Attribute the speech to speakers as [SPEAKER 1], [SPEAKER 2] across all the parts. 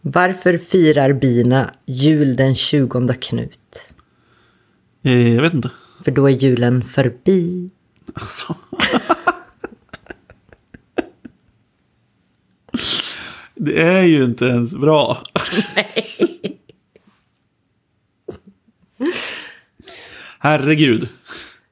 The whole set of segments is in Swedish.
[SPEAKER 1] Varför firar bina jul den 20 Knut?
[SPEAKER 2] Eh, jag vet inte.
[SPEAKER 1] För då är julen förbi.
[SPEAKER 2] Alltså. det är ju inte ens bra. Herregud.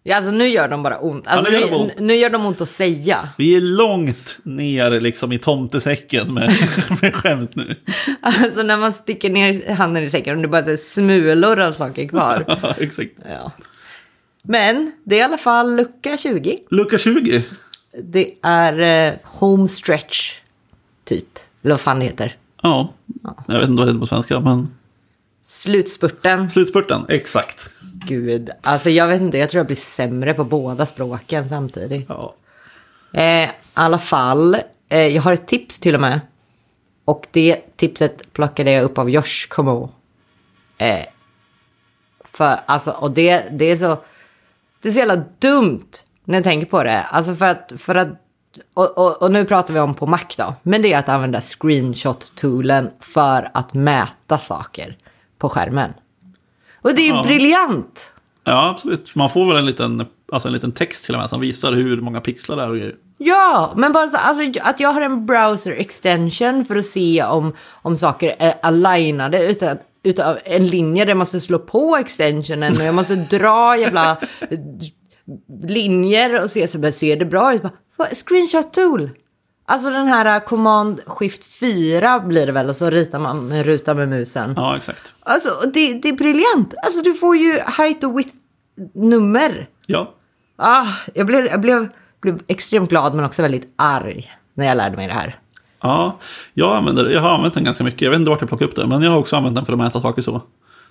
[SPEAKER 1] Ja, alltså nu gör de bara ont. Alltså,
[SPEAKER 2] Ja, nu gör
[SPEAKER 1] nu,
[SPEAKER 2] de ont.
[SPEAKER 1] nu gör de ont att säga.
[SPEAKER 2] Vi är långt ner liksom i tomtesäcken med, med skämt nu.
[SPEAKER 1] Alltså när man sticker ner handen i säcken och det bara är så här smulor av saker kvar.
[SPEAKER 2] Ja, Exakt.
[SPEAKER 1] Ja. Men det är i alla fall lucka 20.
[SPEAKER 2] Lucka 20.
[SPEAKER 1] Det är eh, home stretch, typ. Eller vad fan det heter.
[SPEAKER 2] Ja, jag vet inte vad det heter på svenska, men
[SPEAKER 1] Slutspurten.
[SPEAKER 2] slutspurten. Exakt.
[SPEAKER 1] Gud, alltså jag vet inte, jag tror jag blir sämre på båda språken samtidigt.
[SPEAKER 2] Ja.
[SPEAKER 1] Eh, I alla fall, eh, jag har ett tips till och med. Och det tipset plockade jag upp av Josh Komo. Eh, för, alltså, och det, det är så... Det är så jävla dumt när jag tänker på det. Alltså för att... För att och, och, och nu pratar vi om på Mac då. Men det är att använda screenshot-toolen för att mäta saker på skärmen. Och det är ju
[SPEAKER 2] Ja.
[SPEAKER 1] briljant!
[SPEAKER 2] ja, absolut. För Man får väl en liten, alltså en liten text till och med som visar hur många pixlar det är och grejer.
[SPEAKER 1] Ja, men bara så, alltså, att jag har en browser extension för att se om, om saker är alignade utan, utav en linje där jag måste slå på extensionen och jag måste dra jävla eh, linjer och se så men ser det bra ut. Bara, vad- Screenshot tool. Alltså den här eh, command shift 4 blir det väl och så ritar man en ruta med musen.
[SPEAKER 2] Ja, exakt.
[SPEAKER 1] Alltså och det, det är briljant. Alltså du får ju height och width nummer.
[SPEAKER 2] Ja,
[SPEAKER 1] Ah, jag blev, jag blev, blev extremt glad men också väldigt arg när jag lärde mig det här.
[SPEAKER 2] Ja, jag, använder, jag har använt den ganska mycket. Jag vet inte vart jag plockade upp den, men jag har också använt den för att mäta saker så.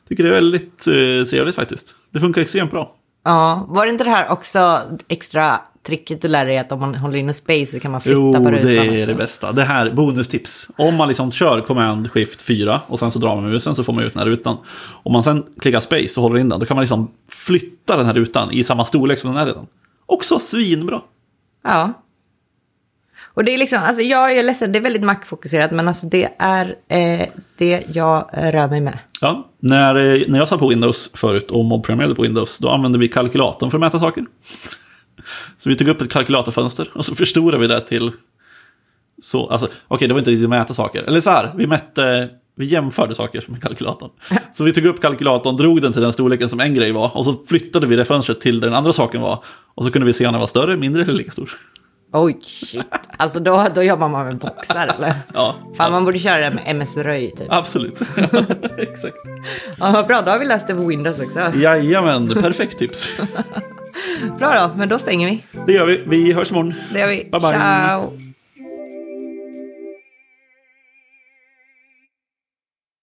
[SPEAKER 2] Tycker det är väldigt eh, trevligt faktiskt. Det funkar extremt bra.
[SPEAKER 1] Ja, var det inte det här också extra tricket du lärde dig att om man håller inne space så kan man flytta
[SPEAKER 2] Jo,
[SPEAKER 1] på rutan
[SPEAKER 2] det är
[SPEAKER 1] också?
[SPEAKER 2] det bästa. Det här, bonustips. Om man liksom kör command shift 4 och sen så drar man musen så får man ut den här rutan. Om man sen klickar space och håller in den, då kan man liksom flytta den här rutan i samma storlek som den är redan. Också svinbra.
[SPEAKER 1] Ja. Och det är liksom, alltså jag är ledsen, det är väldigt mackfokuserat men alltså det är eh, det jag eh, rör mig med.
[SPEAKER 2] Ja, när, eh, när jag satt på Windows förut och mobbprogrammerade på Windows, då använde vi kalkylatorn för att mäta saker. Så vi tog upp ett kalkylatorfönster och så förstorade vi det till... Så, alltså, okej, det var inte riktigt att mäta saker. Eller så här, vi mätte... Vi jämförde saker med kalkylatorn. Så vi tog upp kalkylatorn, drog den till den storleken som en grej var och så flyttade vi det fönstret till där den andra saken var. Och så kunde vi se om den var större, mindre eller lika stor.
[SPEAKER 1] Oj, shit. Alltså då, då jobbar man med boxar eller?
[SPEAKER 2] Ja,
[SPEAKER 1] Fan, man borde köra det med MS-röj typ.
[SPEAKER 2] absolut. Exakt.
[SPEAKER 1] Ja, vad bra, då har vi läst det på Windows också.
[SPEAKER 2] Jajamän, perfekt tips.
[SPEAKER 1] Bra då, men då stänger vi.
[SPEAKER 2] Det gör vi. Vi hörs imorgon.
[SPEAKER 1] Det gör vi.
[SPEAKER 2] Bye, bye.
[SPEAKER 1] Ciao!